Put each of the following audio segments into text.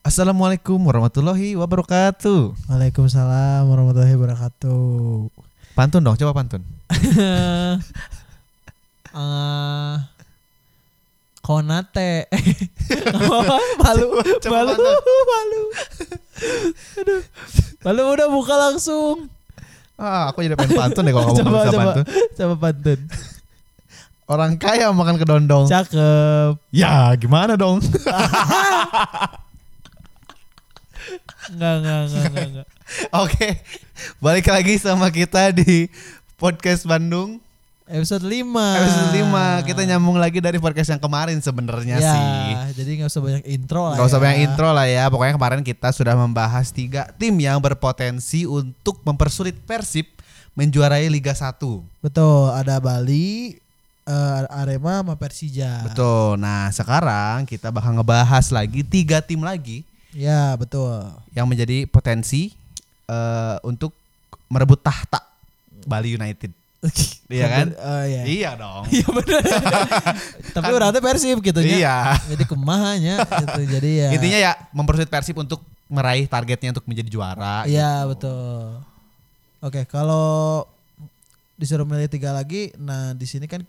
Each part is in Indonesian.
Assalamualaikum warahmatullahi wabarakatuh. Waalaikumsalam warahmatullahi wabarakatuh. Pantun dong, coba pantun. Eh, konate. malu, malu, malu. Aduh. Malu udah buka langsung. Ah, aku jadi pengen pantun deh kalau ngomong coba, bisa coba, pantun. coba pantun. Orang kaya makan kedondong. Cakep. ya, gimana dong? Enggak, enggak, enggak, enggak, enggak. Oke. Balik lagi sama kita di Podcast Bandung Episode 5. episode 5. Kita nyambung lagi dari podcast yang kemarin sebenarnya ya, sih. jadi nggak usah banyak intro lah. Gak usah ya. banyak intro lah Oh, ya. Pokoknya kemarin kita sudah membahas tiga tim yang berpotensi untuk mempersulit Persib menjuarai Liga 1. Betul, ada Bali, eh, Arema sama Persija. Betul. Nah, sekarang kita bakal ngebahas lagi tiga tim lagi Ya, betul. yang menjadi potensi eh, untuk merebut tahta Bali United. Iya kan? Oh, iya. Iya dong. Iya benar. Tapi Kan- orangnya Persib gitu ya. Iya. Jadi kemahanya gitu. Jadi ya. Intinya ya mempersulit Persib untuk meraih targetnya untuk menjadi juara. Iya betul. Oke, kalau disuruh milih tiga lagi, nah di sini kan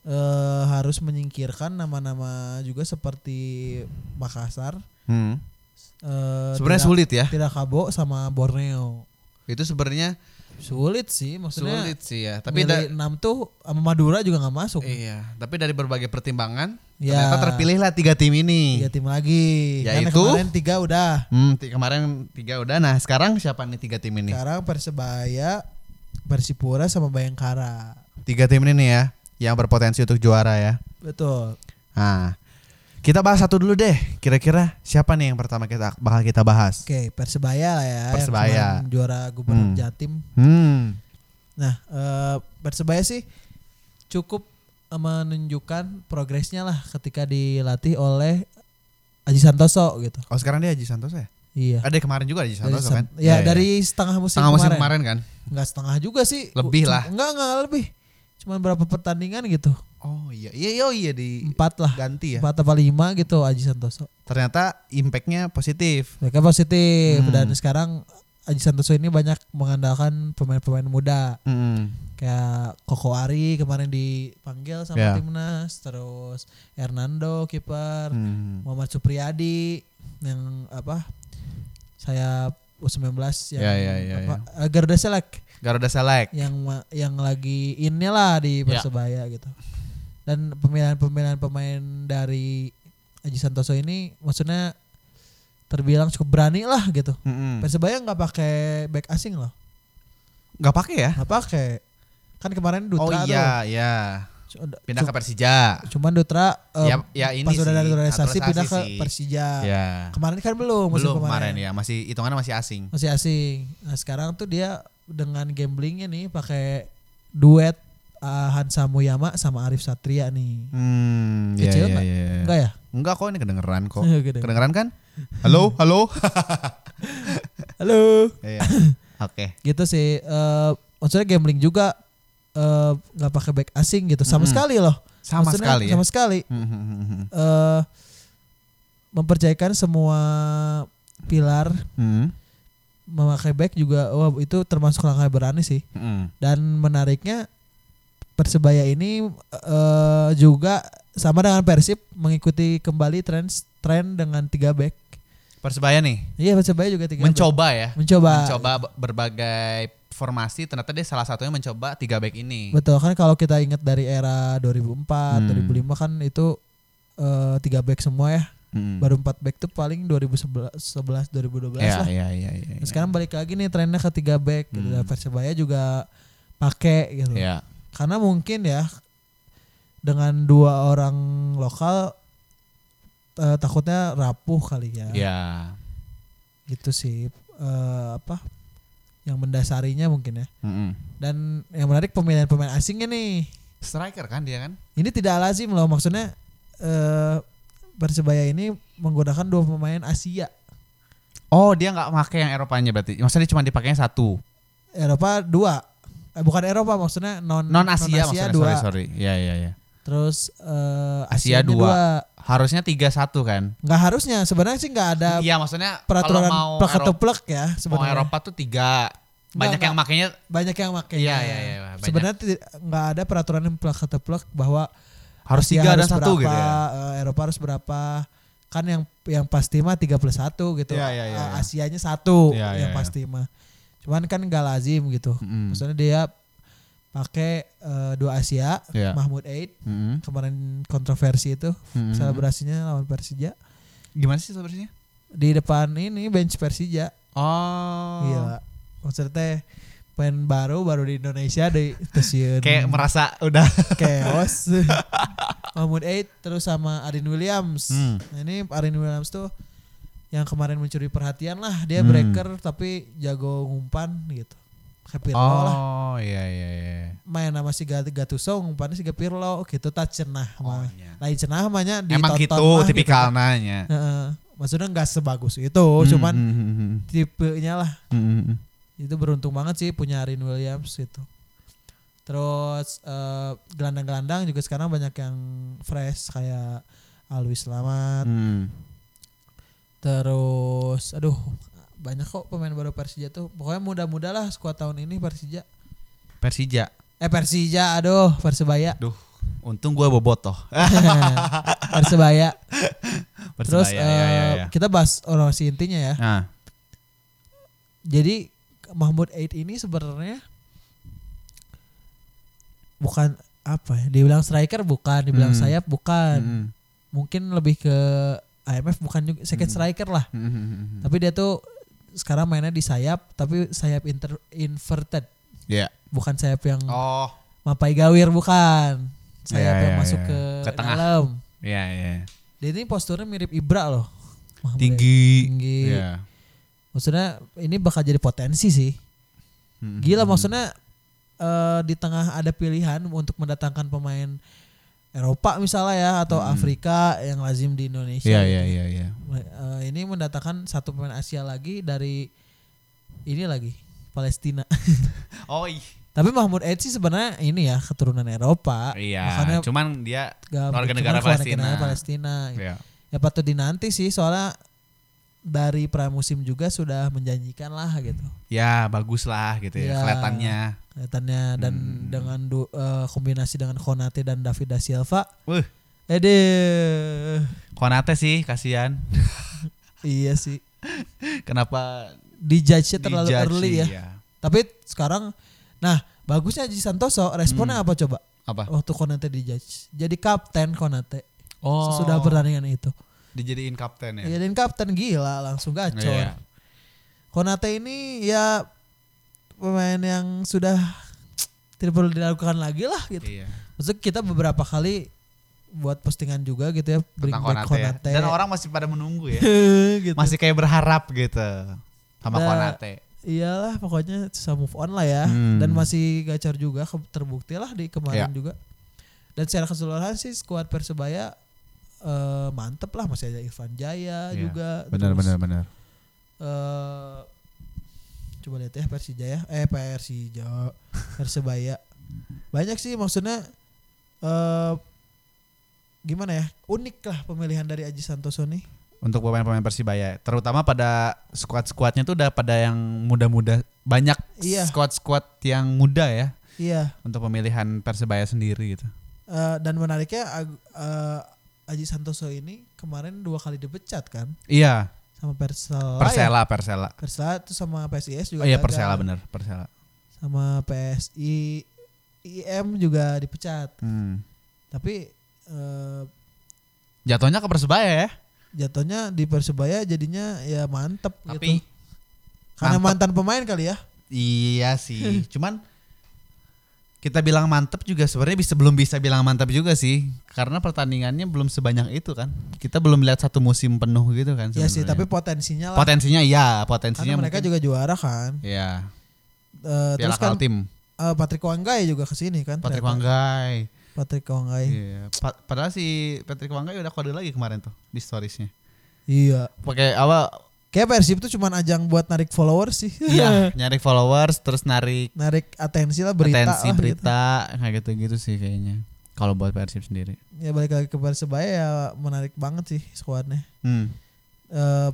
eh harus menyingkirkan nama-nama juga seperti Makassar, Hmm. eh, Sebenarnya tidak, sulit ya. tidak Kabo sama Borneo. Itu sebenarnya Sulit sih maksudnya. sulit sih ya. Tapi Tapi da- enam tuh sama Madura juga nggak masuk. iya, tapi dari berbagai pertimbangan Ya. ternyata terpilihlah tiga tim ini. Tiga tim lagi. Karena Yaitu? kemarin tiga udah. Hmm, ti- kemarin tiga udah. Nah, sekarang siapa nih tiga tim ini? Sekarang Persebaya, Persipura sama Bayangkara. Tiga tim ini nih ya yang berpotensi untuk juara ya. Betul. Nah, kita bahas satu dulu deh. Kira-kira siapa nih yang pertama kita bakal kita bahas? Oke, Persebaya lah ya. yang Persebaya. kemarin juara Gubernur Hmm. Jatim. Hmm. Nah, eh, Persebaya sih cukup eh, menunjukkan progresnya lah ketika dilatih oleh Aji Santoso gitu. Oh sekarang dia Haji Santoso ya? Iya. Ada kemarin juga Haji Dari Santoso kan? San- Ya, dari setengah musim tengah musim kemarin. kemarin kan? Enggak setengah juga sih. Lebih Cuma- lah. Enggak, enggak lebih. Cuman berapa pertandingan gitu. Oh iya, iya oh, iya di Empat lah. ganti ya. Empat apa lima gitu Aji Santoso. Ternyata impactnya positif. Mereka positif Hmm. dan sekarang Aji Santoso ini banyak mengandalkan pemain-pemain muda Hmm. kayak Koko Ari kemarin dipanggil sama Ya. timnas, terus Hernando kiper, Hmm. Muhammad Supriyadi yang apa saya U19 yang Ya, ya, ya, apa, eh, Garuda Select Garuda Select. yang ma- yang lagi inilah di Ya. Persebaya gitu. Dan pemilihan-pemilihan pemain dari Aji Santoso ini maksudnya terbilang cukup berani lah gitu. Hmm. Persebaya nggak pakai back asing loh. Gak pakai ya? Nggak pakai. Kan kemarin Oh Dutra iya, iya. tuh. cu- Pindah cu- ke Persija. Cuman Dutra eh, ya, ya ini pas sih. udah dari naturalisasi naturalisasi pindah ke sih. Persija. Ya. Kemarin kan belum musim Belum kemarin ya, masih hitungannya masih asing. Masih asing. Nah, sekarang tuh dia dengan gamblingnya nih pakai duet eh, Hansa Muyama sama Arif Satria nih. Hmm, ya, Kecil ya, nggak? ya, ya. Enggak ya? Enggak kok ini kedengeran kok. Gede. Kedengeran kan? Halo, halo. Halo. Iya. Oke. Gitu sih. eh maksudnya gambling juga eh, nggak pakai back asing gitu. Sama Mm-mm. sekali loh. Sama Maksudnya sekali ya. Sama sekali. Mhm. eh mempercayakan semua pilar Mhm. memakai back juga wah itu termasuk langkah yang berani sih. Mhm. Dan menariknya Persebaya ini eh, juga sama dengan Persib mengikuti kembali tren tren dengan tiga back. Persebaya nih Iya Persebaya juga tiga back. mencoba ya. Mencoba. Mencoba b- berbagai formasi ternyata dia salah satunya mencoba tiga back ini. Betul kan kalau kita ingat dari era 2004, Hmm. 2005 kan itu eh, tiga back semua ya. Mhm. Baru empat back tuh paling 2011 11 2012 ya, lah. ya, ya, ya, Nah, Sekarang balik lagi nih trennya ke tiga back gitu. Hmm. Persebaya juga pakai gitu. ya. Karena mungkin ya dengan dua orang lokal eh, takutnya rapuh kali ya. Ya. Gitu sih eh, apa yang mendasarinya mungkin ya. Mhm. Dan yang menarik pemilihan pemain asingnya nih. Striker kan dia kan? Ini tidak lazim loh maksudnya eh Persebaya ini menggunakan dua pemain Asia. Oh, dia nggak pakai yang Eropanya berarti. Maksudnya dia cuma dipakainya satu. Eropa dua. Eh, bukan Eropa maksudnya non Non Asia, Hmm, non-Asia maksudnya. dua. Sorry, sorry. Ya, ya, ya. Terus eh Asia Asianya dua. harusnya 3-1 kan? Nggak harusnya sebenarnya sih nggak ada Iya, maksudnya peraturan kalau mau plek atau Eropa, plek ya mau sebenarnya. Eropa tuh 3. Banyak Nggak, yang makainya Banyak yang pakai. Iya, iya, iya, banyak. Sebenarnya ti- nggak ada peraturan yang plek atau plek bahwa harus Asia 3 dan harus 1 berapa, gitu ya. eh, Eropa harus berapa? Kan yang yang pasti mah 3 plus 1 gitu. Iya, iya, iya, Eh, iya. Asianya satu Iya, iya, yang iya. Hmm. pasti mah. Cuman kan nggak lazim gitu. Mm-mm. Maksudnya dia pakai eh, dua Asia, Iya. Hmm. Mahmud Eid Mm-mm. kemarin kontroversi itu Mm-mm. selebrasinya lawan Persija Gimana sih sebenarnya? di depan ini bench Persija. Oh. Gila. Iya, Maksudnya teh pemain baru baru di Indonesia di stasiun Kayak merasa udah chaos. Mahmud Eid terus sama Arin Williams. Hmm. Nah, ini Arin Williams tuh yang kemarin mencuri perhatian lah dia Hmm. breaker tapi jago ngumpan gitu. Kayak Pirlo lah Oh, iya iya iya. main sama si Gat- Gattuso ngumpannya si Pirlo gitu tak cenah Oh, mah. iya. Lain cenah mahnya Emang ditonton gitu mah tipikal nanya. Heeh. maksudnya nggak sebagus itu, Oh, cuman Hmm, hmm, hmm, tipenya lah hmm, hmm, hmm. itu beruntung banget sih punya Arin Williams itu terus eh, gelandang-gelandang juga sekarang banyak yang fresh kayak Alwi Selamat Hmm. terus aduh banyak kok pemain baru Persija tuh pokoknya muda-muda lah skuad tahun ini Persija Persija. eh Persija aduh Persebaya Duh, untung gua bobotoh. Persebaya terus Persebaya, ya, ya, eh, ya. kita bahas orang si intinya ya Nah, jadi Mahmud Eid ini sebenarnya bukan apa ya dibilang striker bukan dibilang Hmm. sayap bukan mm, mungkin lebih ke IMF bukan juga second striker lah mm, mm, mm, mm. tapi dia tuh sekarang mainnya di sayap tapi sayap inter inverted Iya. bukan sayap yang Oh, mapai gawir bukan sayap Iya, yang iya, masuk iya. ke, Ke tengah. dalam iya iya. dia ini posturnya mirip Ibra loh Mahmud Eid. Tinggi. tinggi Iya. maksudnya ini bakal jadi potensi sih Mm, Gila mm, maksudnya eh, di tengah ada pilihan untuk mendatangkan pemain Eropa misalnya ya atau Hmm. Afrika yang lazim di mm. Indonesia. Iya iya iya iya. Eh, ini mendatangkan satu pemain Asia lagi dari ini lagi Palestina. Oh, ih. Tapi Mahmud Eid sih sebenarnya ini ya keturunan Eropa. Makanya iya. Cuman dia gak- warga cuman negara keluarga Palestina. negara Palestina. Iya. Ya patut dinanti sih soalnya dari pramusim juga sudah menjanjikan lah gitu. Ya, bagus lah gitu ya, Iya. kelihatannya. kelihatannya dan Hmm. dengan du- eh, kombinasi dengan Konate dan David da Silva. Wih. Aduh. Konate sih kasihan. Iya sih. Kenapa Dijudge dijudge terlalu iya. early sih, ya. Tapi sekarang nah, bagusnya Ji Santoso responnya Hmm. apa coba? Apa? Waktu Konate dijudge. Jadi kapten Konate. Oh. Sudah pertandingan itu. dijadiin kapten ya. Ya dan kapten gila langsung gacor. Iya. Konate ini ya pemain yang sudah tidak perlu dilakukan lagi lah gitu. Iya. Maksudnya kita beberapa kali buat postingan juga gitu ya bring Tentang back Konate. ya. Konate. Dan orang masih pada menunggu ya. gitu. Masih kayak berharap gitu sama Nah, Konate. Iyalah pokoknya susah move on lah ya Hmm. dan masih gacor juga ke- terbukti lah di kemarin Iya. juga. Dan secara keseluruhan sih skuad Persebaya eh, mantep lah masih ada Irfan Jaya Iya, juga. Benar Terus, benar benar. eh, coba lihat ya Persija ya. Eh Persija Persebaya. Banyak sih maksudnya eh gimana ya? Unik lah pemilihan dari Aji Santoso nih. Untuk pemain-pemain Persibaya, terutama pada skuad-skuadnya tuh udah pada yang muda-muda. Banyak Iya. skuad-skuad yang muda ya Iya. untuk pemilihan Persibaya sendiri gitu. Eh, dan menariknya Ag- eh, Aji Santoso ini kemarin dua kali dipecat kan Iya, sama Persela. ya? Persela, Persela. Persela itu sama PSIS juga. Oh iya gagal. Persela benar, Persela. Sama PSI IM juga dipecat. Hmm. Tapi eh, Jatuhnya ke Persebaya ya. jatuhnya di Persebaya jadinya ya mantep Tapi gitu. Karena mantep. mantan pemain kali ya. Iya sih, cuman kita bilang mantep juga sebenarnya bisa belum bisa bilang mantap juga sih karena pertandingannya belum sebanyak itu kan. Kita belum lihat satu musim penuh gitu kan. Ya sih, sebenarnya. tapi potensinya lah. potensinya iya, potensinya Karena mereka mungkin. juga juara kan. Iya. Eh, Piala terus kan Kaltim, eh, Patrick Wanggai juga kesini kan. Patrick ternyata. Wanggai. Patrick Wanggai. Iya. Pa- padahal si Patrick Wanggai udah kode lagi kemarin tuh di storiesnya. Iya. Pakai apa? Kayak Persib tuh cuman ajang buat narik followers sih. Iya, nyari followers terus narik narik atensi lah berita berita atensi lah gitu. berita kayak gitu-gitu sih kayaknya. kalau buat Persib sendiri. ya balik lagi ke Persebaya ya menarik banget sih skuadnya Hmm. Eh,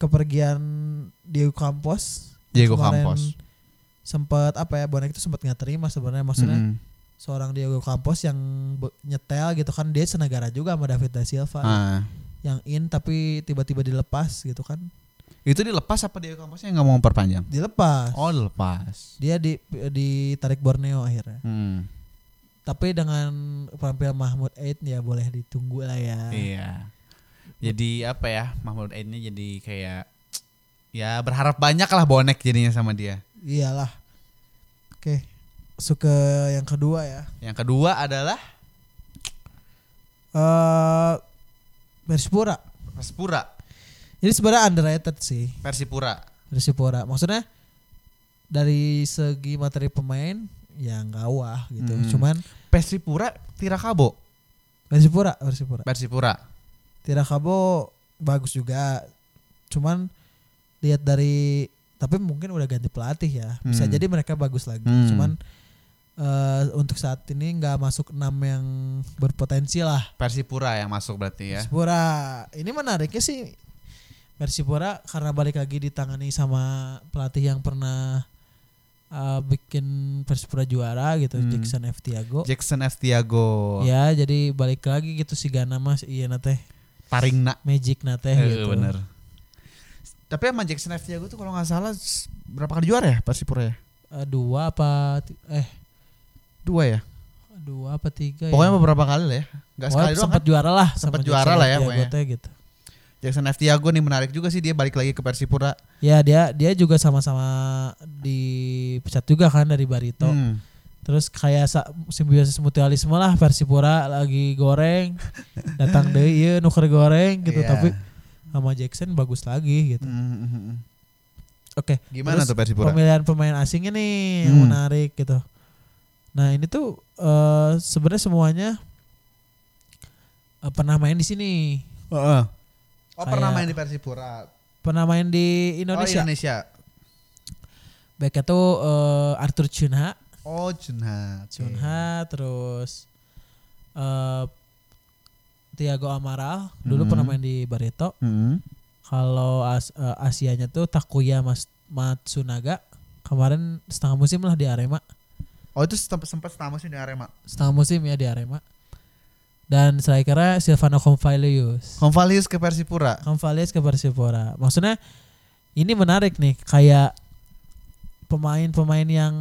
kepergian Diego Campos Diego kemarin Campos. sempat apa ya bonek itu sempat nggak terima sebenarnya maksudnya Mm-mm. seorang Diego Campos yang be- nyetel gitu kan dia senegara juga sama David da Silva Ah. yang in tapi tiba-tiba dilepas gitu kan Itu dilepas apa Diego Camposnya nggak mau memperpanjang? dilepas Oh dilepas. dia di ditarik Borneo akhirnya Hmm. tapi dengan penampilan Mahmud Aid ya boleh ditunggu lah ya Iya. Jadi apa ya Mahmud Ain ini jadi kayak ya berharap banyak lah bonek jadinya sama dia. iyalah oke suka yang kedua ya Yang kedua adalah eh Persipura Persipura. ini sebenarnya underrated sih Persipura. Persipura maksudnya dari segi materi pemain ya nggak wah gitu Hmm. cuman Persipura Tirakabo. Persipura Persipura Persipura. Tirakabo bagus juga. Cuman lihat dari tapi mungkin udah ganti pelatih ya. Bisa Hmm. jadi mereka bagus lagi. Hmm. Cuman eh, untuk saat ini nggak masuk enam yang berpotensi lah. Persipura yang masuk berarti ya. Persipura ini menariknya sih Persipura karena balik lagi ditangani sama pelatih yang pernah eh, bikin Persipura juara gitu Hmm. Jackson F Tiago. Jackson F. Tiago. Ya jadi balik lagi gitu si Gana Mas iya nate Taringna. Magic nate Eh, gitu. bener. Tapi sama Jackson F. Tiago tuh kalau nggak salah s- berapa kali juara ya Persipura ya? Eh, dua apa ti- eh Dua ya? dua apa tiga Pokoknya ya. beberapa kali lah ya. Gak sekali doang sempat kan? juara lah Sempat sama juara Jackson lah ya Santiago pokoknya. teh gitu Jackson F. Tiago nih menarik juga sih dia balik lagi ke Persipura. ya dia dia juga sama-sama dipecat juga kan dari Barito Hmm. terus kayak sa- simbiosis mutualisme lah Persipura lagi goreng datang deh iya nuker goreng gitu Iya. tapi sama Jackson bagus lagi gitu Hmm, hmm, hmm. oke Gimana terus tuh Persipura? pemilihan pemain asingnya nih yang Hmm. menarik gitu nah ini tuh eh, sebenarnya semuanya eh, pernah main di sini Heeh. Oh, Kayak- pernah main di Persipura. pernah main di Oh, iya. Indonesia. Indonesia. Backnya tuh eh, Arthur Chunha, Oh, Junha. Chunha terus eh Tiago Amaral dulu Hmm. pernah main di Barito. Hmm. Kalau as, eh, Asianya tuh Takuya Mas Matsunaga kemarin setengah musim lah di Arema, Oh, itu sempat sempat stamusnya di Arema. setengah musim ya di Arema. Dan strikernya Silvano Convalius. Konvalius ke Persipura. Convalius ke Persipura. Maksudnya ini menarik nih kayak pemain-pemain yang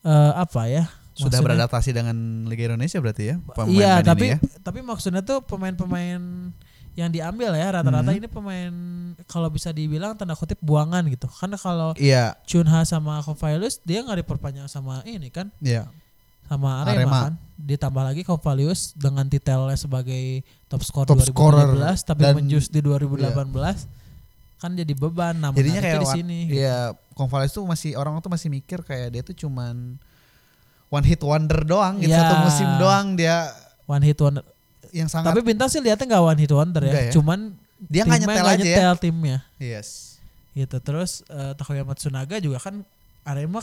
eh, apa ya? Sudah Maksudnya- beradaptasi dengan Liga Indonesia berarti ya? pemain-pemain iya, ini tapi ya? tapi maksudnya tuh pemain-pemain yang diambil ya rata-rata Mhm. ini pemain kalau bisa dibilang tanda kutip buangan gitu. Karena kalau Iya, Chunha sama Convalius dia nggak diperpanjang sama ini kan iya. sama Arema, Arema. kan. Ditambah lagi Convalius dengan titelnya sebagai top scorer Top 2017 scorer. tapi Dan- iya. menjus di 2018 kan jadi beban nah Jadinya menariknya kayak di wa- sini. Iya, Konvalius tuh masih orang tuh masih mikir kayak dia tuh cuman one hit wonder doang gitu, Iya. satu musim doang dia One hit wonder. yang sangat Tapi bintang sih lihatnya nggak one hit wonder Nggak ya. ya. Cuman dia nggak timnya nyetel nggak aja ya. nyetel timnya. Yes. gitu terus eh, Takuya Matsunaga juga kan Arema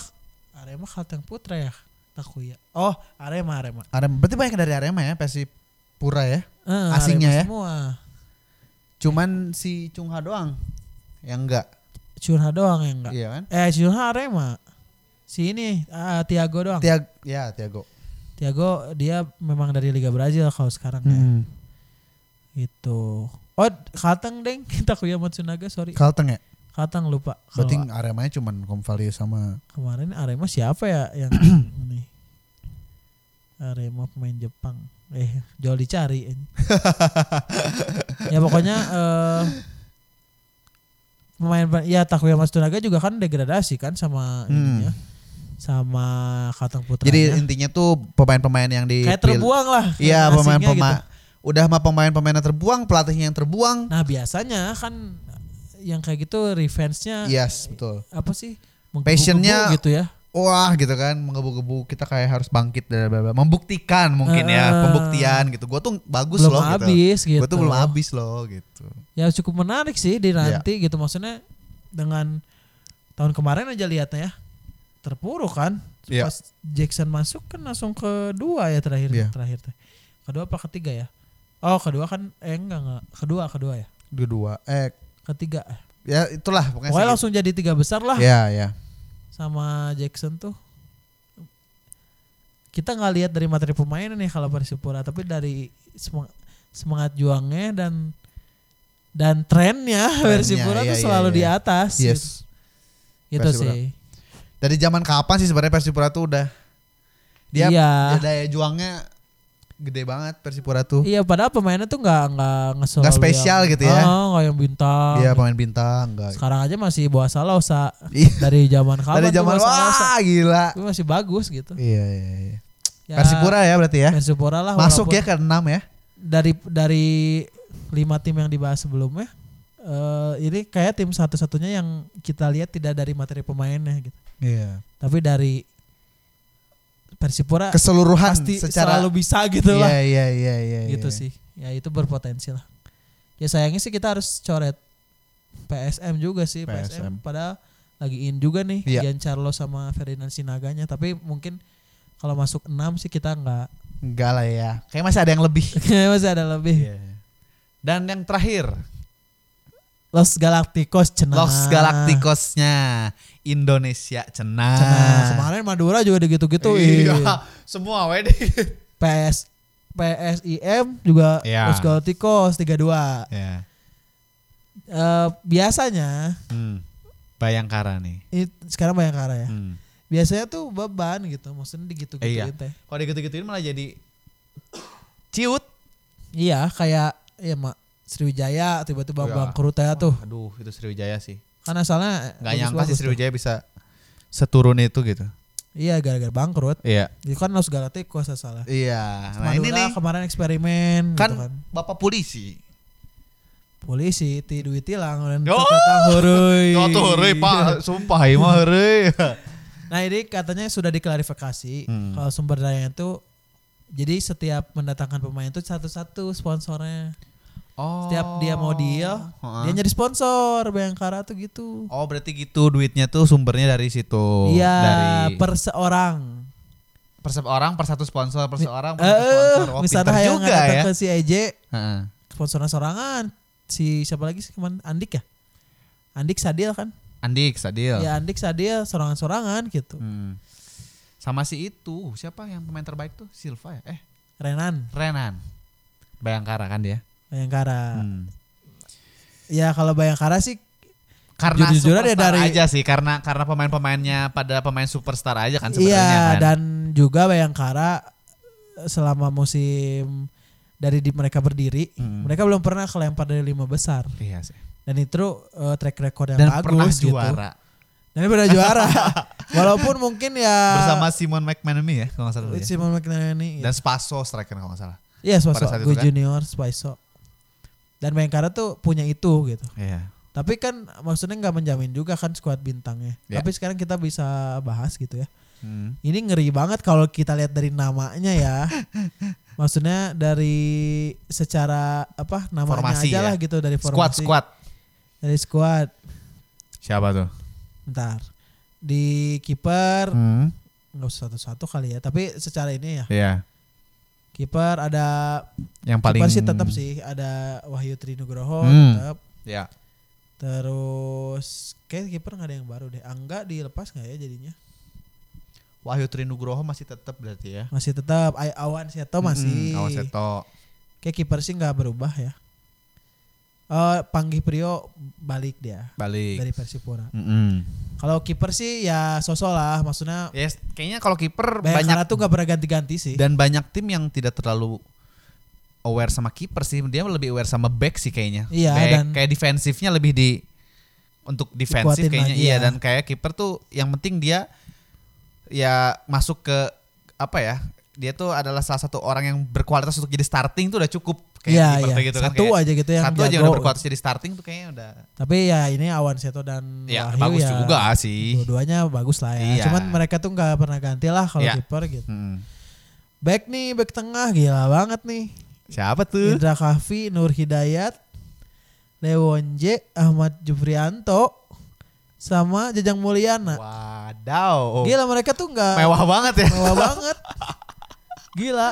Arema Kalteng Putra ya Takuya oh Arema Arema Arema berarti banyak dari Arema ya, Persipura ya. Eh, Asingnya Arema ya? semua Cuman si Cungha doang yang enggak, Chunha doang yang enggak iya kan? eh Chunha Arema si ini ah, Tiago doang Tiago, ya Tiago. Tiago dia memang dari Liga Brazil kalau sekarang ya Hmm. gitu oh Kalteng deng Takuya Matsunaga sorry Kalteng ya. Kalteng lupa Berarti Kalau Aremanya cuman Konvalius sama kemarin Arema siapa ya yang ini Arema pemain Jepang eh jauh dicari ya pokoknya eh pemain ya Takuya Matsunaga juga kan degradasi kan sama Hmm. ininya sama Katang Putra Jadi intinya tuh pemain-pemain yang di kayak terbuang lah Iya, asingnya pemain-pemain gitu. udah mah pemain-pemainnya terbuang, pelatihnya yang terbuang. nah biasanya kan yang kayak gitu revenge-nya Yes, betul. apa sih menggebu-gebu Iya. Passion-nya gitu ya Wah, gitu kan menggebu-gebu kita kayak harus bangkit dan bla- bla- bla. membuktikan mungkin ya, Eh, pembuktian gitu. Gue tuh bagus belum loh gitu. habis gitu, Gue tuh belum habis Iya. loh gitu. ya cukup menarik sih di nanti gitu maksudnya dengan tahun kemarin aja lihatnya ya terpuruk kan Iya. Pas Jackson masuk kan langsung kedua ya terakhir Iya. terakhir teh. Kedua apa ketiga ya? Oh kedua kan eh enggak enggak kedua kedua ya dua dua eh ketiga. ya itulah pokoknya Pokoknya segitu. langsung ah, jadi tiga besar lah ya ya sama Jackson tuh. Kita nggak lihat dari materi pemain nih kalau Persipura tapi dari semang- semangat juangnya dan dan trennya, Persipura iya, tuh iya, selalu iya. di atas. yes Gitu, gitu Persipura. sih. dari zaman kapan sih sebenarnya Persipura tuh udah dia Iya. dia daya juangnya gede banget Persipura tuh Iya padahal pemainnya tuh nggak nggak ngesel Nggak spesial gitu ya. Oh, nggak yang bintang. dia Iya, pemain bintang enggak Sekarang aja masih bawa Salosa Iya. dari zaman kapan? dari tuh zaman Boa Salosa? wah gila Tapi masih bagus gitu. iya iya, iya. Ya, Persipura ya berarti ya Persipura lah. masuk walaupun ya ke enam ya Dari dari lima tim yang dibahas sebelumnya, eh ini kayak tim satu-satunya yang kita lihat tidak dari materi pemainnya gitu, iya tapi dari Persipura keseluruhan pasti secara selalu bisa gitu lah. iya iya iya iya gitu iya. sih ya itu berpotensi lah ya sayangnya sih kita harus coret PSM juga sih PSM. PSM, padahal lagi in juga nih Iya. Gian Carlo sama Ferdinand Sinaganya tapi mungkin kalau masuk 6 sih kita nggak enggak lah ya kayak masih ada yang lebih masih ada lebih Iya. dan yang terakhir Los Galacticos cenah Los Galacticosnya Indonesia cenah. cenah kemarin Madura juga digitu-gitu Ah. iya, semua wede. PS PSIM juga Iya. Los Galacticos 32 ya. Eh, biasanya Hmm. Bayangkara nih. it- sekarang Bayangkara ya Hmm. biasanya tuh beban gitu maksudnya Iya. digitu-gituin teh Kalau digitu-gituin malah jadi ciut. Iya kayak ya mak Sriwijaya tiba-tiba Iya. bangkrut ya tuh. Aduh, itu Sriwijaya sih. Kan asalnya Gak bagus-bagus nyangka sih tuh. Sriwijaya bisa seturun itu gitu. Iya gara-gara bangkrut. Iya. Itu kan Los Galacticos asalnya. Iya. Nah, Madura ini nih kemarin eksperimen kan, gitu kan. Bapak polisi. Polisi ti duit hilang dan Oh! terkatang hurui. Oh tuh, heureui, Pak. Sumpah, ieu mah heureui. Nah, ini katanya sudah diklarifikasi Hmm. kalau sumber dayanya itu jadi setiap mendatangkan pemain itu satu-satu sponsornya. Oh. Setiap dia mau deal, Heeh. dia nyari sponsor Bayangkara tuh gitu. Oh berarti gitu duitnya tuh sumbernya dari situ. Iya, Oh, Dari per seorang. per sep- orang per satu sponsor per seorang per satu Eh, sponsor. Wah, misalnya pinter yang juga ya. ke si EJ Heeh. sponsornya sorangan. Si siapa lagi sih kemarin Andik ya? Andik Sadil kan? Andik Sadil. Ya Andik Sadil sorangan-sorangan gitu. Iya. Hmm. Sama si itu siapa yang pemain terbaik tuh Silva ya? Eh Renan Renan. Bayangkara kan dia. Bayangkara. Hmm. Ya kalau Bayangkara sih Karena Jujur- jujur aja superstar dari- aja sih karena karena pemain-pemainnya pada pemain superstar aja kan sebenarnya iya kan. dan juga Bayangkara selama musim dari di mereka berdiri, Hmm. mereka belum pernah kelempar dari lima besar. Iya sih. Dan itu eh, track record yang Dan bagus pernah gitu. juara Dan pernah juara. Walaupun mungkin ya bersama Simon McManamy ya kalau nggak salah. dulu ya. Simon iya. McNally. Dan Spaso striker kalau nggak salah. Iya Spiso, Pada saat itu gue kan. junior Spiso. Dan Bayangkara tuh punya itu gitu. Iya. Tapi kan maksudnya nggak menjamin juga kan skuad bintangnya. Ya. Tapi sekarang kita bisa bahas gitu ya. Hmm. Ini ngeri banget kalau kita lihat dari namanya ya. maksudnya dari secara apa namanya Formasi ya. aja lah gitu dari Squad formasi. squad. Dari skuad. Siapa tuh? Bentar. Di kiper Hmm. nggak usah satu-satu kali ya. Tapi secara ini ya. Iya. Kiper ada Yang paling paling sih tetap sih ada Wahyu Trinugroho Hmm. tetap Ya. Terus kayak kiper nggak ada yang baru deh. Angga dilepas nggak ya jadinya? Wahyu Trinugroho masih tetap berarti ya. Masih tetap Ay- Awan Hmm. Seto masih. Mm-mm, Awas Seto. Kayak kiper sih nggak berubah ya. Eh Panggih Prio balik dia Balik. dari Persipura. Mm-mm. Kalau kiper sih ya sosok lah, maksudnya Yes, kayaknya kalau kiper banyak banyak tuh nggak pernah ganti-ganti sih. dan banyak tim yang tidak terlalu aware sama kiper sih. Dia lebih aware sama back sih kayaknya. Iya, back, dan- kayak defensifnya lebih di untuk defensif Dikuatin kayaknya lagi iya ya. dan kayak kiper tuh yang penting dia ya masuk ke apa ya? Dia tuh adalah salah satu orang yang berkualitas untuk jadi starting tuh udah cukup kayak Iya, kiper iya. tuh gitu kan. Satu Kayak aja gitu yang satu aja jago. udah berkualitas jadi starting tuh kayaknya udah Tapi ya ini Awan Seto dan ya Wahyu bagus ya juga sih. Dua-duanya bagus lah ya. Iya. Cuman mereka tuh nggak pernah ganti lah kalau Iya. kiper gitu. Hmm. Back nih, back tengah gila banget nih. Siapa tuh? Indra Kahvi, Nur Hidayat, Lewon J, Ahmad Jufrianto, sama Jajang Mulyana. Wadaw. Gila mereka tuh nggak Mewah banget ya. mewah banget. Gila.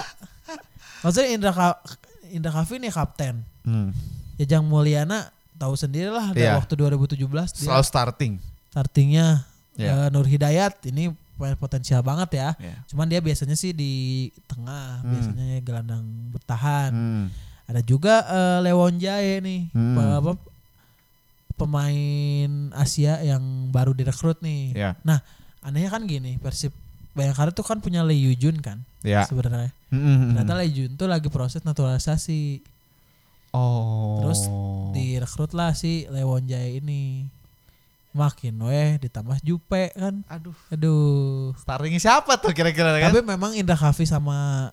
Maksudnya Indra Ka- Indra Kaffi nih kapten. Hmm. Jajang Mulyana tahu sendirilah dari Iya. waktu 2017 dia Selalu starting. startingnya Iya. eh, Nur Hidayat ini pemain potensial banget ya. Iya. Cuman dia biasanya sih di tengah, Hmm. biasanya gelandang bertahan. Hmm. Ada juga eh, Lewon Jae nih, Hmm. pe- apa, pemain Asia yang baru direkrut nih. Ya. Nah, anehnya kan gini, Persib Bayangkara tuh kan punya Lee Yujun kan Ya. sebenarnya. Mm-mm. Ternyata Lee Yujun tuh lagi proses naturalisasi. Oh. Terus Direkrut lah si Lewon Jae ini. Makin weh ditambah Jupe kan. aduh, Aduh. startingnya siapa tuh kira-kira kan? Tapi memang Indra Kafi sama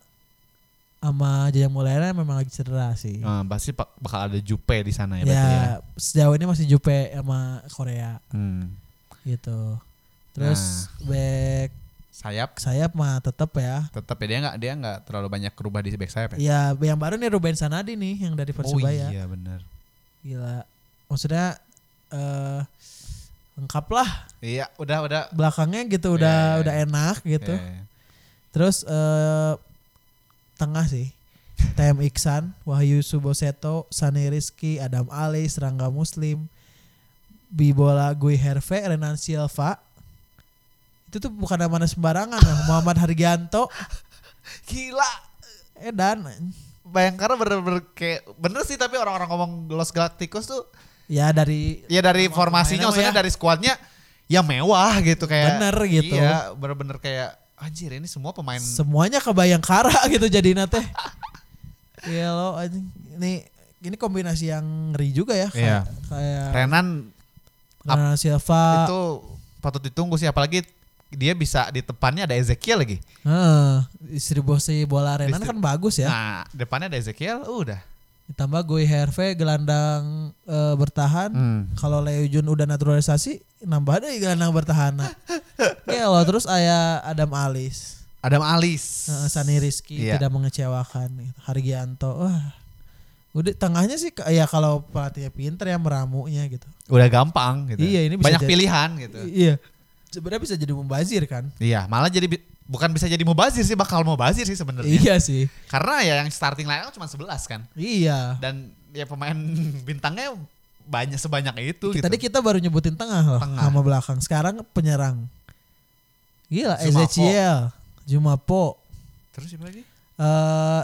sama Jaya Mulyana memang lagi cedera sih. Ah, pasti pak- bakal ada Jupe di sana ya, ya, berarti ya. sejauh ini masih Jupe sama Korea Hmm. gitu. Terus Nah. back Sayap sayap mah tetap ya. tetap ya dia nggak dia nggak terlalu banyak kerubah di back sayap ya. Ya, yang baru nih Ruben Sanadi nih yang dari oh Persebaya. iya benar. Gila. Maksudnya eh lengkap lah Iya, udah udah. belakangnya gitu udah Ya, ya, udah enak gitu. Ya, ya. Terus eh tengah sih. TM Iksan, Wahyu Suboseto, Sani Rizky, Adam Ali, Serangga Muslim, Bibola Gui Herve, Renan Silva. Itu tuh bukan mana sembarangan ya. Muhammad Hargianto, Gila. Edan. Bayangkara bener-bener kayak bener sih tapi orang-orang ngomong Los Galacticos tuh Ya dari ya dari Sama formasinya pemainnya maksudnya dari skuadnya ya mewah gitu kayak Bener gitu. iya bener-bener kayak anjir ini semua pemain semuanya kebayang kara gitu jadi teh. Iya lo anjing. Ini ini kombinasi yang ngeri juga Iya. ya kayak, kayak Renan Renan Silva. itu patut ditunggu sih apalagi dia bisa di depannya ada Ezekiel lagi Heeh, distribusi bola Renan Distrib- kan bagus ya. nah depannya ada Ezekiel udah Ditambah Gue Herve gelandang eh, bertahan. Hmm. Kalau Leo Jun udah naturalisasi, nambah ada gelandang bertahan. Nah, Oke, lo terus aya Adam Alis, Adam Alis Eh, Sani Rizky Iya. tidak mengecewakan, Hargianto. Wah. Udah tengahnya sih ke- ya kalau pelatihnya pinter ya meramunya gitu. udah gampang gitu Iya, ini bisa banyak jadi- pilihan gitu I- Iya. Sebenarnya bisa jadi membazir kan? iya malah jadi bi- bukan bisa jadi mubazir sih bakal mubazir sih sebenarnya Iya sih. karena ya yang starting line cuma 11 kan Iya. dan ya pemain bintangnya banyak sebanyak itu gitu. Iya, Tadi kita baru nyebutin tengah loh, Tengah. sama belakang. Sekarang penyerang. Gila, Jumapo. Ezekiel, Jumapo, Terus siapa lagi? eh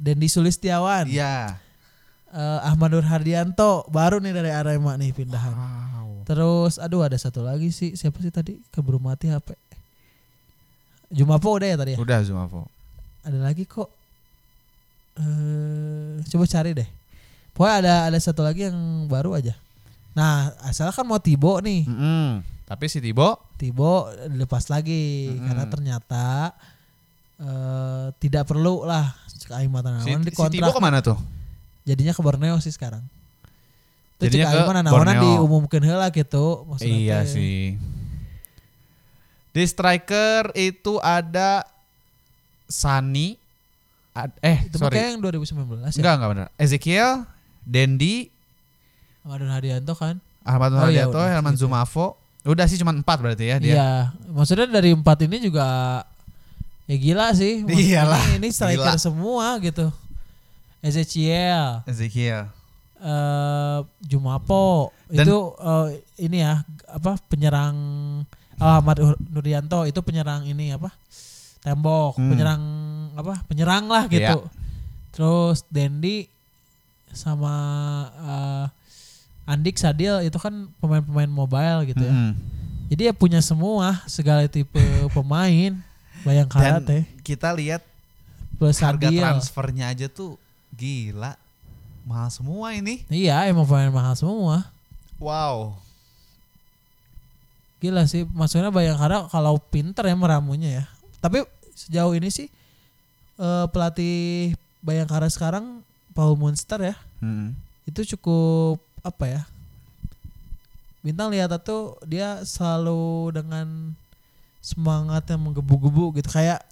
Dendi Sulistiawan, Iya. eh, Ahmad Nur Hardianto, baru nih dari Arema nih pindahan. Wow. Terus, aduh ada satu lagi sih, siapa sih tadi keburu mati HP? Jumapo udah ya tadi ya? Udah Zumafo. Ada lagi kok. eh coba cari deh. Pokoknya ada ada satu lagi yang baru aja. Nah, asal kan mau Tibo nih. Hmm. Tapi si Tibo Tibo lepas lagi Mm-mm. karena ternyata eh tidak perlu lah Cek Aing si, Matanawan si Tibo dikontrak kemana tuh? jadinya ke Borneo sih sekarang. Itu Jadinya Cek Aing ke Matanawan Borneo. diumumkan heula gitu maksudnya Iya teh. sih. Di striker itu ada Sani ad- eh Itu mah sorry. kayaknya yang 2019 ya. Enggak enggak benar. Ezekiel, Dendi, Ahmad Hadianto kan. Ahmad Oh, iya, Nurhadianto, udah, Herman gitu. Zumafo. Udah sih cuman empat berarti ya dia. Iya, maksudnya dari empat ini juga ya gila sih. Maksudnya Iyalah, Ini striker gila. semua gitu. Ezekiel, Ezekiel. eh Jumapo Dan- itu eh, ini ya apa penyerang oh, Ahmad Ur- Nurdianto itu penyerang ini apa tembok Hmm. penyerang apa penyerang lah gitu Iya. terus Dendi sama eh, Andik Sadil itu kan pemain-pemain mobile gitu ya Mm-mm. jadi ya punya semua segala tipe pemain bayangkara Dan teh kita lihat plus harga Sadil transfernya aja tuh gila mahal semua ini iya emang pemain mahal semua wow Gila sih, maksudnya Bayangkara kalau pinter ya meramunya ya. Tapi sejauh ini sih eh, pelatih Bayangkara sekarang Paul Munster ya, itu cukup apa ya? Bintang lihat tuh dia selalu dengan semangat yang menggebu-gebu gitu kayak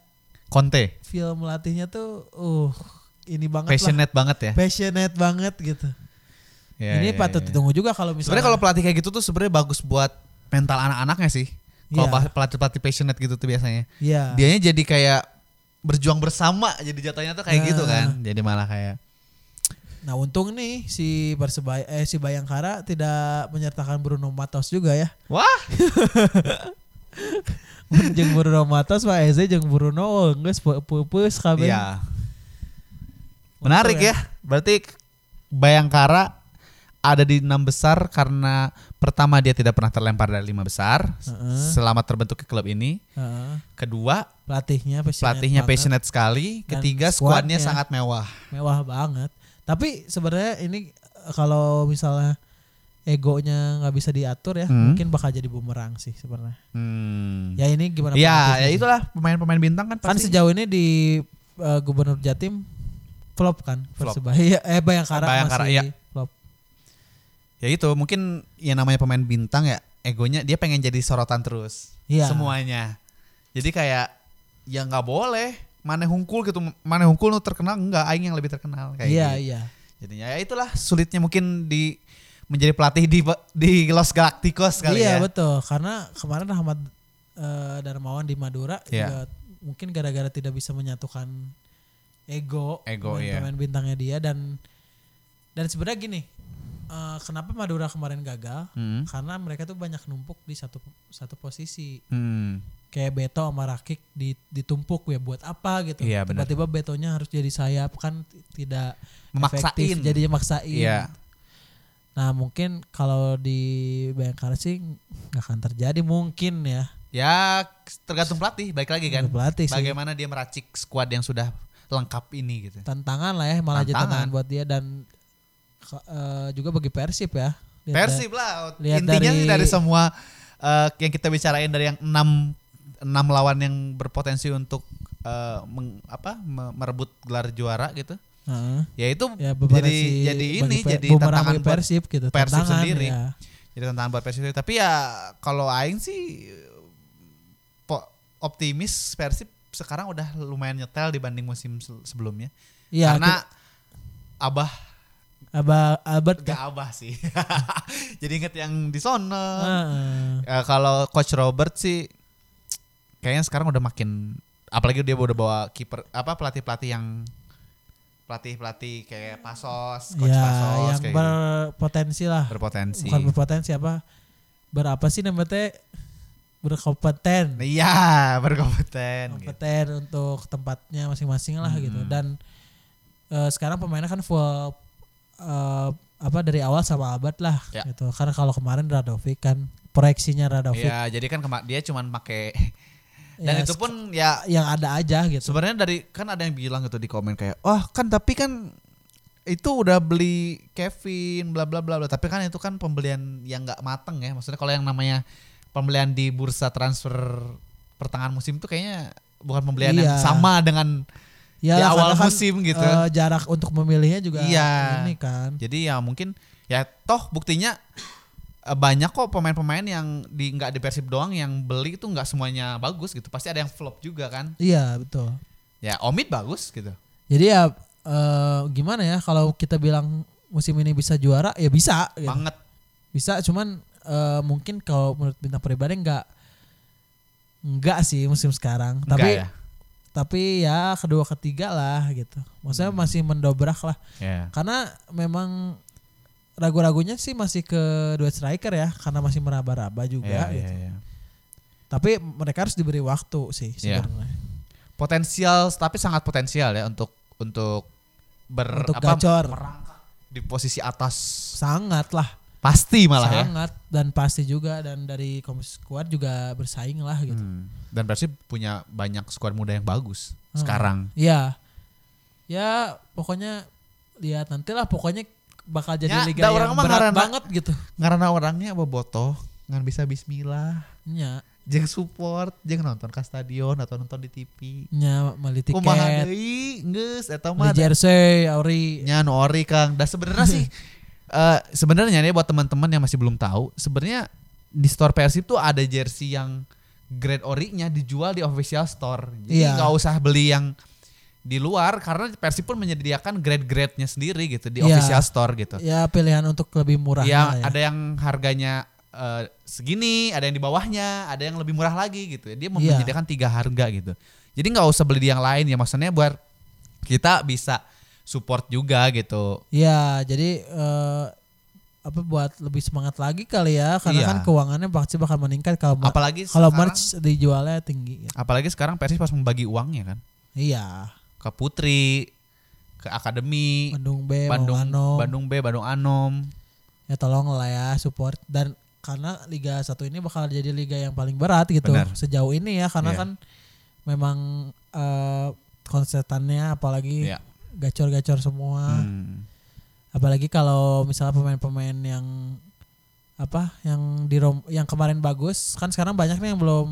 Conte feel melatihnya tuh uh ini banget lah. passionate banget ya Passionate banget gitu. Ya, ini ya, patut ya. iya. ditunggu juga kalau misalnya sebenarnya kalau pelatih kayak gitu tuh sebenarnya bagus buat mental anak-anaknya sih. Kalau Iya. pas- pelatih-pelatih passionate gitu tuh biasanya. Iya. Dianya jadi kayak berjuang bersama jadi jatuhnya tuh kayak gitu kan. Jadi malah kayak Nah untung nih si persebaya eh si Bayangkara tidak menyertakan Bruno Matos juga ya. wah, jeung Bruno Matos Pak Eze jeung Bruno oh, geus pupus kabeh. iya. Menarik ya. Berarti Bayangkara ada di enam besar karena pertama dia tidak pernah terlempar dari lima besar Heeh. selama terbentuknya klub ini. Heeh. Kedua, pelatihnya passionate pelatihnya banget. passionate sekali. Dan Ketiga, skuadnya skuadnya. sangat mewah. mewah banget. Tapi sebenarnya ini eh, kalau misalnya egonya nggak bisa diatur ya, Hmm. mungkin bakal jadi bumerang sih sebenarnya. Hmm. Ya ini gimana? Ya, pelatihnya ya sih. itulah pemain-pemain bintang kan Kan pasti sejauh ini di eh, Gubernur Jatim flop kan Flop. Persebaya eh Bayangkara, Bayangkara, masih iya. flop. ya itu mungkin ya namanya pemain bintang ya egonya dia pengen jadi sorotan terus Iya. semuanya jadi kayak ya nggak boleh mana hungkul gitu mana hungkul nu terkenal enggak aing yang lebih terkenal kayak Iya, gitu. iya. jadinya ya itulah sulitnya mungkin di menjadi pelatih di di Los Galacticos kali iya ya betul karena kemarin Rahmat eh, Darmawan di Madura Iya. juga mungkin gara-gara tidak bisa menyatukan ego Ego, pemain- iya. pemain bintangnya dia dan dan sebenarnya gini eh, kenapa Madura kemarin gagal Hmm. karena mereka tuh banyak numpuk di satu satu posisi Hmm. kayak Beto sama Rakik di- ditumpuk ya buat apa gitu Iya, benar. tiba-tiba Betonya harus jadi sayap kan t- tidak Memaksain. efektif, jadinya maksain Iya. nah mungkin kalau di Bayangkara sih nggak akan terjadi mungkin ya ya tergantung pelatih baik lagi kan pelatih Iya, sih bagaimana dia meracik skuad yang sudah lengkap ini gitu tantangan lah ya malah jadi Tantangan. tantangan buat dia dan ke- eh, juga bagi Persib ya Lihat Persib lah. lihat Intinya dari- dari, dari semua eh, yang kita bicarain dari yang enam enam lawan yang berpotensi untuk eh, meng- apa me- merebut gelar juara gitu. da- Heeh. Ya itu ya beban jadi si- jadi bagi ini Per- jadi bumerang tantangan bagi buat Persib gitu Persib tantangan, sendiri. ya. jadi tantangan buat Persib. Tapi ya kalau aing sih po- optimis Persib sekarang udah lumayan nyetel dibanding musim se- sebelumnya. Iya, Karena Abah ki- Aba- Albert kan? gak abah sih. jadi inget yang di sono. Ah, Heeh. Ya, kalau coach Robert sih kayaknya sekarang udah makin apalagi dia udah bawa kiper apa pelatih-pelatih yang pelatih-pelatih kayak Pasos, coach ya Pasos yang kayak gitu. berpotensi lah berpotensi. bukan berpotensi apa berapa sih namanya teh? berkompeten Iya, berkompeten. gitu. kompeten untuk tempatnya masing-masing lah Hmm. gitu dan eh, sekarang pemainnya kan full eh, apa dari awal sama abad lah Ya. gitu karena kalau kemarin Radovic kan proyeksinya Radovic Iya, jadi kan kema- dia cuman pakai ya, dan itu pun ya yang ada aja gitu sebenarnya dari kan ada yang bilang gitu di komen kayak, "Wah, kan tapi kan itu udah beli Kevin bla bla bla bla." Tapi kan itu kan pembelian yang nggak mateng ya. Maksudnya kalau yang namanya pembelian di bursa transfer pertengahan musim itu kayaknya bukan pembelian yang Iya. sama dengan ya di lah, awal karena kan, musim gitu. eh, jarak untuk memilihnya juga Iya. ini kan Jadi ya mungkin ya toh buktinya eh, banyak kok pemain-pemain yang di nggak di Persib doang yang beli itu nggak semuanya bagus gitu. Pasti ada yang flop juga kan. iya betul Ya Omid bagus gitu. Jadi ya eh, gimana ya kalau kita bilang musim ini bisa juara ya bisa, gitu. Banget. bisa cuman eh, mungkin kalau menurut bintang pribadi nggak nggak sih musim sekarang. Enggak Tapi ya. tapi ya kedua ketiga lah gitu. Maksudnya Hmm. masih mendobrak lah Ya. karena memang ragu-ragunya sih masih ke dua striker ya karena masih meraba-raba Iya, juga. gitu. iya, iya. Tapi mereka harus diberi waktu sih Iya. sebenarnya. Potensial tapi sangat potensial ya untuk untuk ber Untuk apa, gacor. merangkak di posisi atas Sangat lah. pasti malah ya. sangat dan pasti juga dan dari komisi kuat juga bersaing lah gitu. Hmm. Dan Persib punya banyak skuad muda yang bagus sekarang. Iya. Ya pokoknya lihat nantilah pokoknya bakal jadi Ya, liga dah orang yang mah berat ngarana. banget gitu. Karena orangnya bobotoh, ngan bisa bismillah, Nya, jeng support, jeng nonton ke stadion atau nonton di TV. nya beli Kumaha tiket, deui geus eta beli mah jersey, ori. nya nu Iya. ori Kang. Dan sebenarnya sih eh sebenarnya nih buat teman-teman yang masih belum tahu, sebenarnya di store Persib tuh ada jersey yang grade orinya dijual di official store. Jadi Iya. nggak usah beli yang di luar karena Persib pun menyediakan grade-grade-nya sendiri gitu di Iya. official store gitu. Ya pilihan untuk lebih murah Yang lah ya. ada yang harganya eh, segini, ada yang di bawahnya, ada yang lebih murah lagi gitu. ya. Dia Iya. menyediakan tiga harga gitu. Jadi nggak usah beli di yang lain ya maksudnya buat kita bisa support juga gitu. Ya, jadi eh, apa buat lebih semangat lagi kali ya karena Iya. kan keuangannya pasti bakal meningkat kalau ma- Apalagi kalau sekarang- merch dijualnya tinggi. ya. apalagi sekarang Persis pas membagi uangnya kan Iya, ke Putri, ke Akademi, Bandung B, Bandung Maungano. Bandung B, Bandung Anom. Ya tolong lah ya support dan karena Liga 1 ini bakal jadi liga yang paling berat gitu Benar. sejauh ini ya karena Iya. kan memang eh konsetannya apalagi Iya. gacor-gacor semua. Hmm. Apalagi kalau misalnya pemain-pemain yang apa yang di Rom- yang kemarin bagus kan sekarang banyak nih yang belum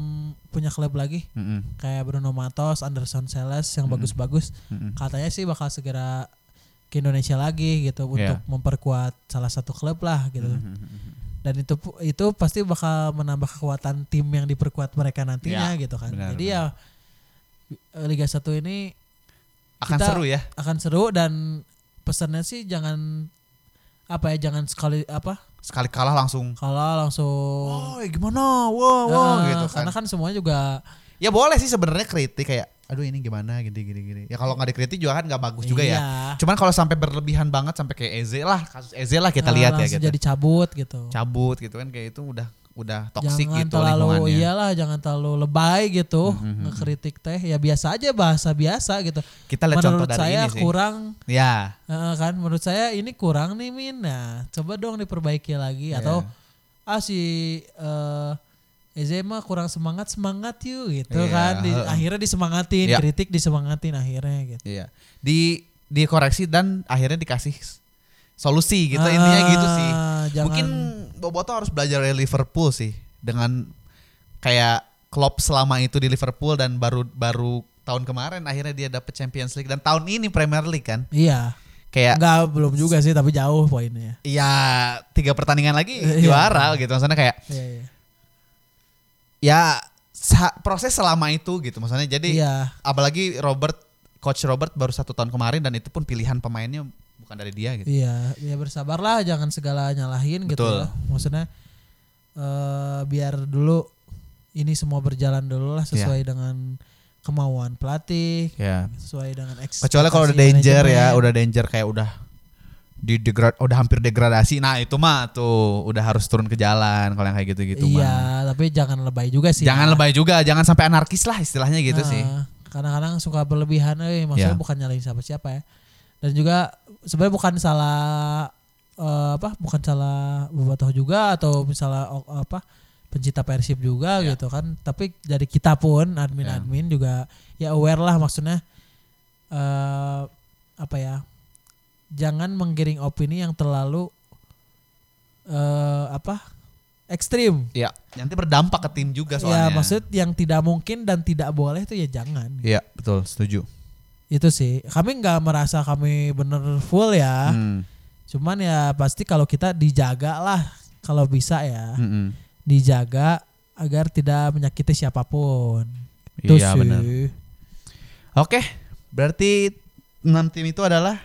punya klub lagi Mm-mm. kayak Bruno Matos, Anderson Sales yang Mm-mm. bagus-bagus Mm-mm. katanya sih bakal segera ke Indonesia lagi gitu untuk Iya. memperkuat salah satu klub lah gitu Hmm. Mm-mm. dan itu pu- itu pasti bakal menambah kekuatan tim yang diperkuat mereka nantinya gitu kan benar, jadi ya Liga 1 ini Akan Kita- seru ya. akan seru dan pesannya sih jangan apa ya jangan sekali apa Sekali kalah langsung kalau langsung Wah gimana? Wah, wah eh, gitu kan. Oh. karena kan semuanya juga Ya boleh sih sebenarnya kritik kayak aduh ini gimana gini gini gini. Ya kalau nggak dikritik juga kan nggak bagus juga ya. iya. Cuman kalau sampai berlebihan banget sampai kayak Eze lah, kasus Eze lah kita eh, lihat ya langsung gitu. jadi cabut gitu Cabut gitu kan kayak itu udah udah toksik jangan gitu terlalu iya lingkungannya. iyalah jangan terlalu lebay gitu Mhm, mhm. ngekritik teh ya biasa aja bahasa biasa gitu Kita lihat contoh menurut dari saya ini sih. kurang Ya. eh, kan menurut saya ini kurang nih min nah coba dong diperbaiki lagi Iya. atau ah si eh Ezema kurang semangat semangat yuk gitu Iya, kan Di- heeh. akhirnya disemangatin Iya. kritik disemangatin akhirnya gitu Iya. Di dikoreksi dan akhirnya dikasih s- solusi gitu intinya gitu sih. Ah, jangan- Mungkin Boboto harus belajar dari Liverpool sih dengan kayak Klopp selama itu di Liverpool dan baru baru tahun kemarin akhirnya dia dapet Champions League dan tahun ini Premier League kan. iya Kayak enggak belum juga sih tapi jauh poinnya ya tiga pertandingan lagi Iya. juara gitu maksudnya kayak iya iya. ya sa- proses selama itu gitu maksudnya jadi iya apalagi Robert coach Robert baru satu tahun kemarin dan itu pun pilihan pemainnya bukan dari dia gitu. Iya, ya bersabarlah, jangan segala nyalahin gitu. Betul. Ya. Maksudnya eh biar dulu ini semua berjalan dulu lah sesuai Iya. dengan kemauan pelatih, Ya. sesuai dengan ekspektasi. Kecuali kalau udah danger ya, Iya. manajemen. udah danger kayak udah di degrad, udah hampir degradasi. Nah itu mah tuh udah harus turun ke jalan kalau yang kayak gitu-gitu gitu Iya, mah. tapi jangan lebay juga sih. Jangan lebay juga, jangan sampai anarkis lah istilahnya gitu Nah, sih. Kadang-kadang suka berlebihan, eh, maksudnya Iya. bukan nyalahin siapa-siapa ya. Dan juga sebenarnya bukan salah eh, apa? Bukan salah Bobotoh juga atau misalnya o- apa? pencinta persib juga Iya. gitu kan. Tapi dari kita pun admin-admin juga ya aware lah maksudnya eh apa ya? Jangan menggiring opini yang terlalu eh apa? ekstrim Iya. Nanti berdampak ke tim juga soalnya. Ya maksud yang tidak mungkin dan tidak boleh itu ya jangan. Iya betul setuju. Itu sih. Kami nggak merasa kami bener full ya. Hmm, Cuman ya pasti kalau kita dijaga lah kalau bisa ya. mm-mm. Dijaga agar tidak menyakiti siapapun. Itu Iya sih. benar. Oke berarti enam tim itu adalah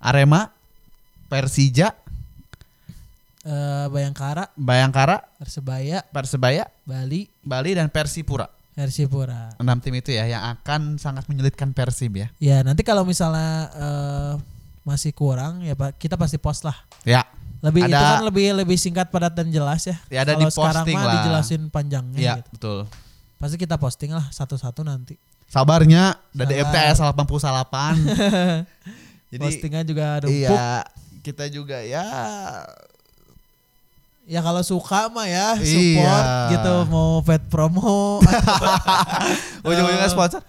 Arema, Persija, Eh, Bayangkara, Bayangkara, Persebaya, Persebaya, Bali, Bali dan Persipura. Persipura. Enam tim itu ya yang akan sangat menyulitkan Persib ya. Ya nanti kalau misalnya eh, masih kurang ya Pak, kita pasti post lah. Ya. Lebih itu Ada- kan lebih lebih singkat padat dan jelas ya. Ya, ada kalau di sekarang posting mah lah. dijelasin panjangnya Iya gitu. betul. Pasti kita posting lah satu-satu nanti. Sabarnya dari E Sabar. MTS 88. Jadi Postingan juga ada empuk. iya kita juga ya Ya kalau suka mah ya support Iya. gitu mau pet promo. ujung-ujungnya sponsor.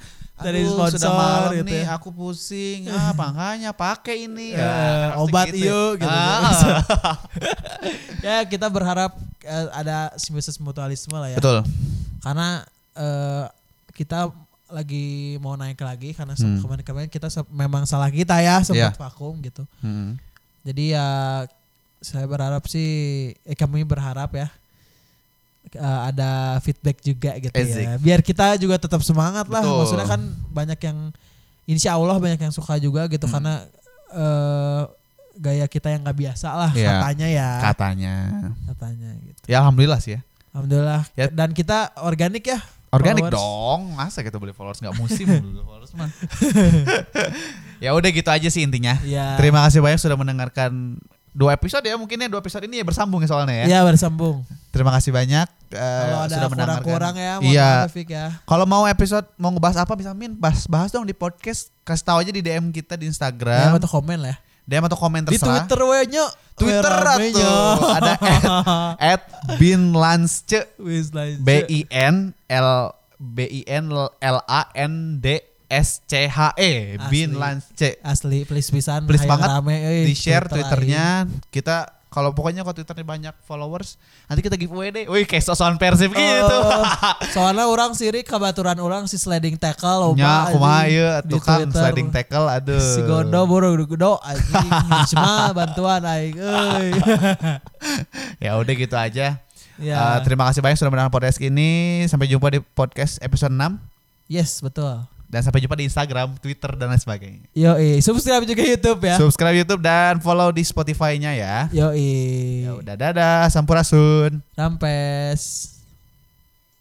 Eh, Dari Aduh, sponsor sudah malam gitu nih, ya. aku pusing. Ah, makanya pakai ini. Eh, Ya, pasti obat yuk, gitu. Ah. ya kita berharap eh, ada simbiosis mutualisme lah ya. Betul. Karena eh, kita lagi mau naik lagi karena se- Hmm. kemarin-kemarin kita se- memang salah kita ya sempat Iya. vakum gitu. Mm. Jadi ya saya berharap sih eh, kami berharap ya eh, ada feedback juga gitu Ezik. ya. Biar kita juga tetap semangat lah. Betul. Maksudnya Hmm. kan banyak yang insya Allah banyak yang suka juga gitu karena eh gaya kita yang nggak biasa lah Iya. katanya ya katanya. katanya gitu Ya alhamdulillah sih ya. alhamdulillah Ya. dan kita organik ya Organik Followers. dong. Masa kita beli followers nggak musim beli followers mah. ya udah gitu aja sih intinya. ya Terima kasih banyak sudah mendengarkan dua episode ya mungkinnya dua episode ini ya bersambung ya soalnya ya. ya bersambung Terima kasih banyak eh, kalau ada sudah mendengarkan. kurang-kurang ya mohon Iya. maaf, Fik, ya Kalau mau episode mau ngebahas apa bisa min bahas bahas dong di podcast kasih tahu aja di DM kita di Ya, Instagram. atau komen lah ya. DM atau komen di terserah. Twitter we nyo Twitter tuh ada at, at binlansce wis lain B I E N L B I N L A N D S C H E Asli. Eh, Bin Lansce. asli please pisan Please ayo banget rame, euy, Di share Twitter, twitternya kita kalau pokoknya kalau twitternya banyak followers nanti kita giveaway deh. Wih kayak sosokan persib euy. gitu. Oh, soalnya orang sirik kabaturan orang si sliding tackle loba, Nya Ya, kumaha iya. anjing. ieu Di tukang Twitter. sliding tackle aduh. si gondo boro gondo anjing cuma bantuan aing euy Ya udah gitu aja. Eh, ya terima kasih banyak sudah menonton podcast ini. Sampai jumpa di podcast episode 6 yes betul dan sampai jumpa di Instagram, Twitter dan lain sebagainya. Yoi, subscribe juga YouTube ya. Subscribe YouTube dan follow di Spotify-nya ya. Yoi. Ya udah dadah, sampurasun. Rampes.